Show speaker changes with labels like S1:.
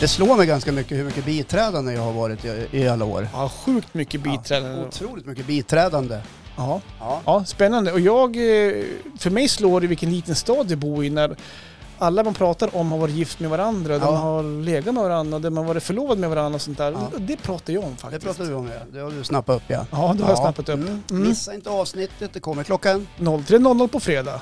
S1: Det slår mig ganska mycket hur mycket biträdande jag har varit i, i alla år.
S2: Ja, sjukt mycket biträdande.
S1: Otroligt mycket biträdande.
S2: Ja.
S1: Ja.
S2: ja, spännande. Och jag, eh, för mig slår det vilken liten stad du bor i när alla man pratar om har varit gift med varandra,
S1: Ja.
S2: de har legat med varandra, de har varit förlovad med varandra och sånt där.
S1: Ja.
S2: Det pratar jag om
S1: Det
S2: faktiskt.
S1: pratade vi om ja. Det har du snappat upp ja.
S2: Ja, det har jag snappat upp.
S1: Mm.
S2: Mm.
S1: Missa inte avsnittet, det kommer klockan.
S2: 03.00 på fredag.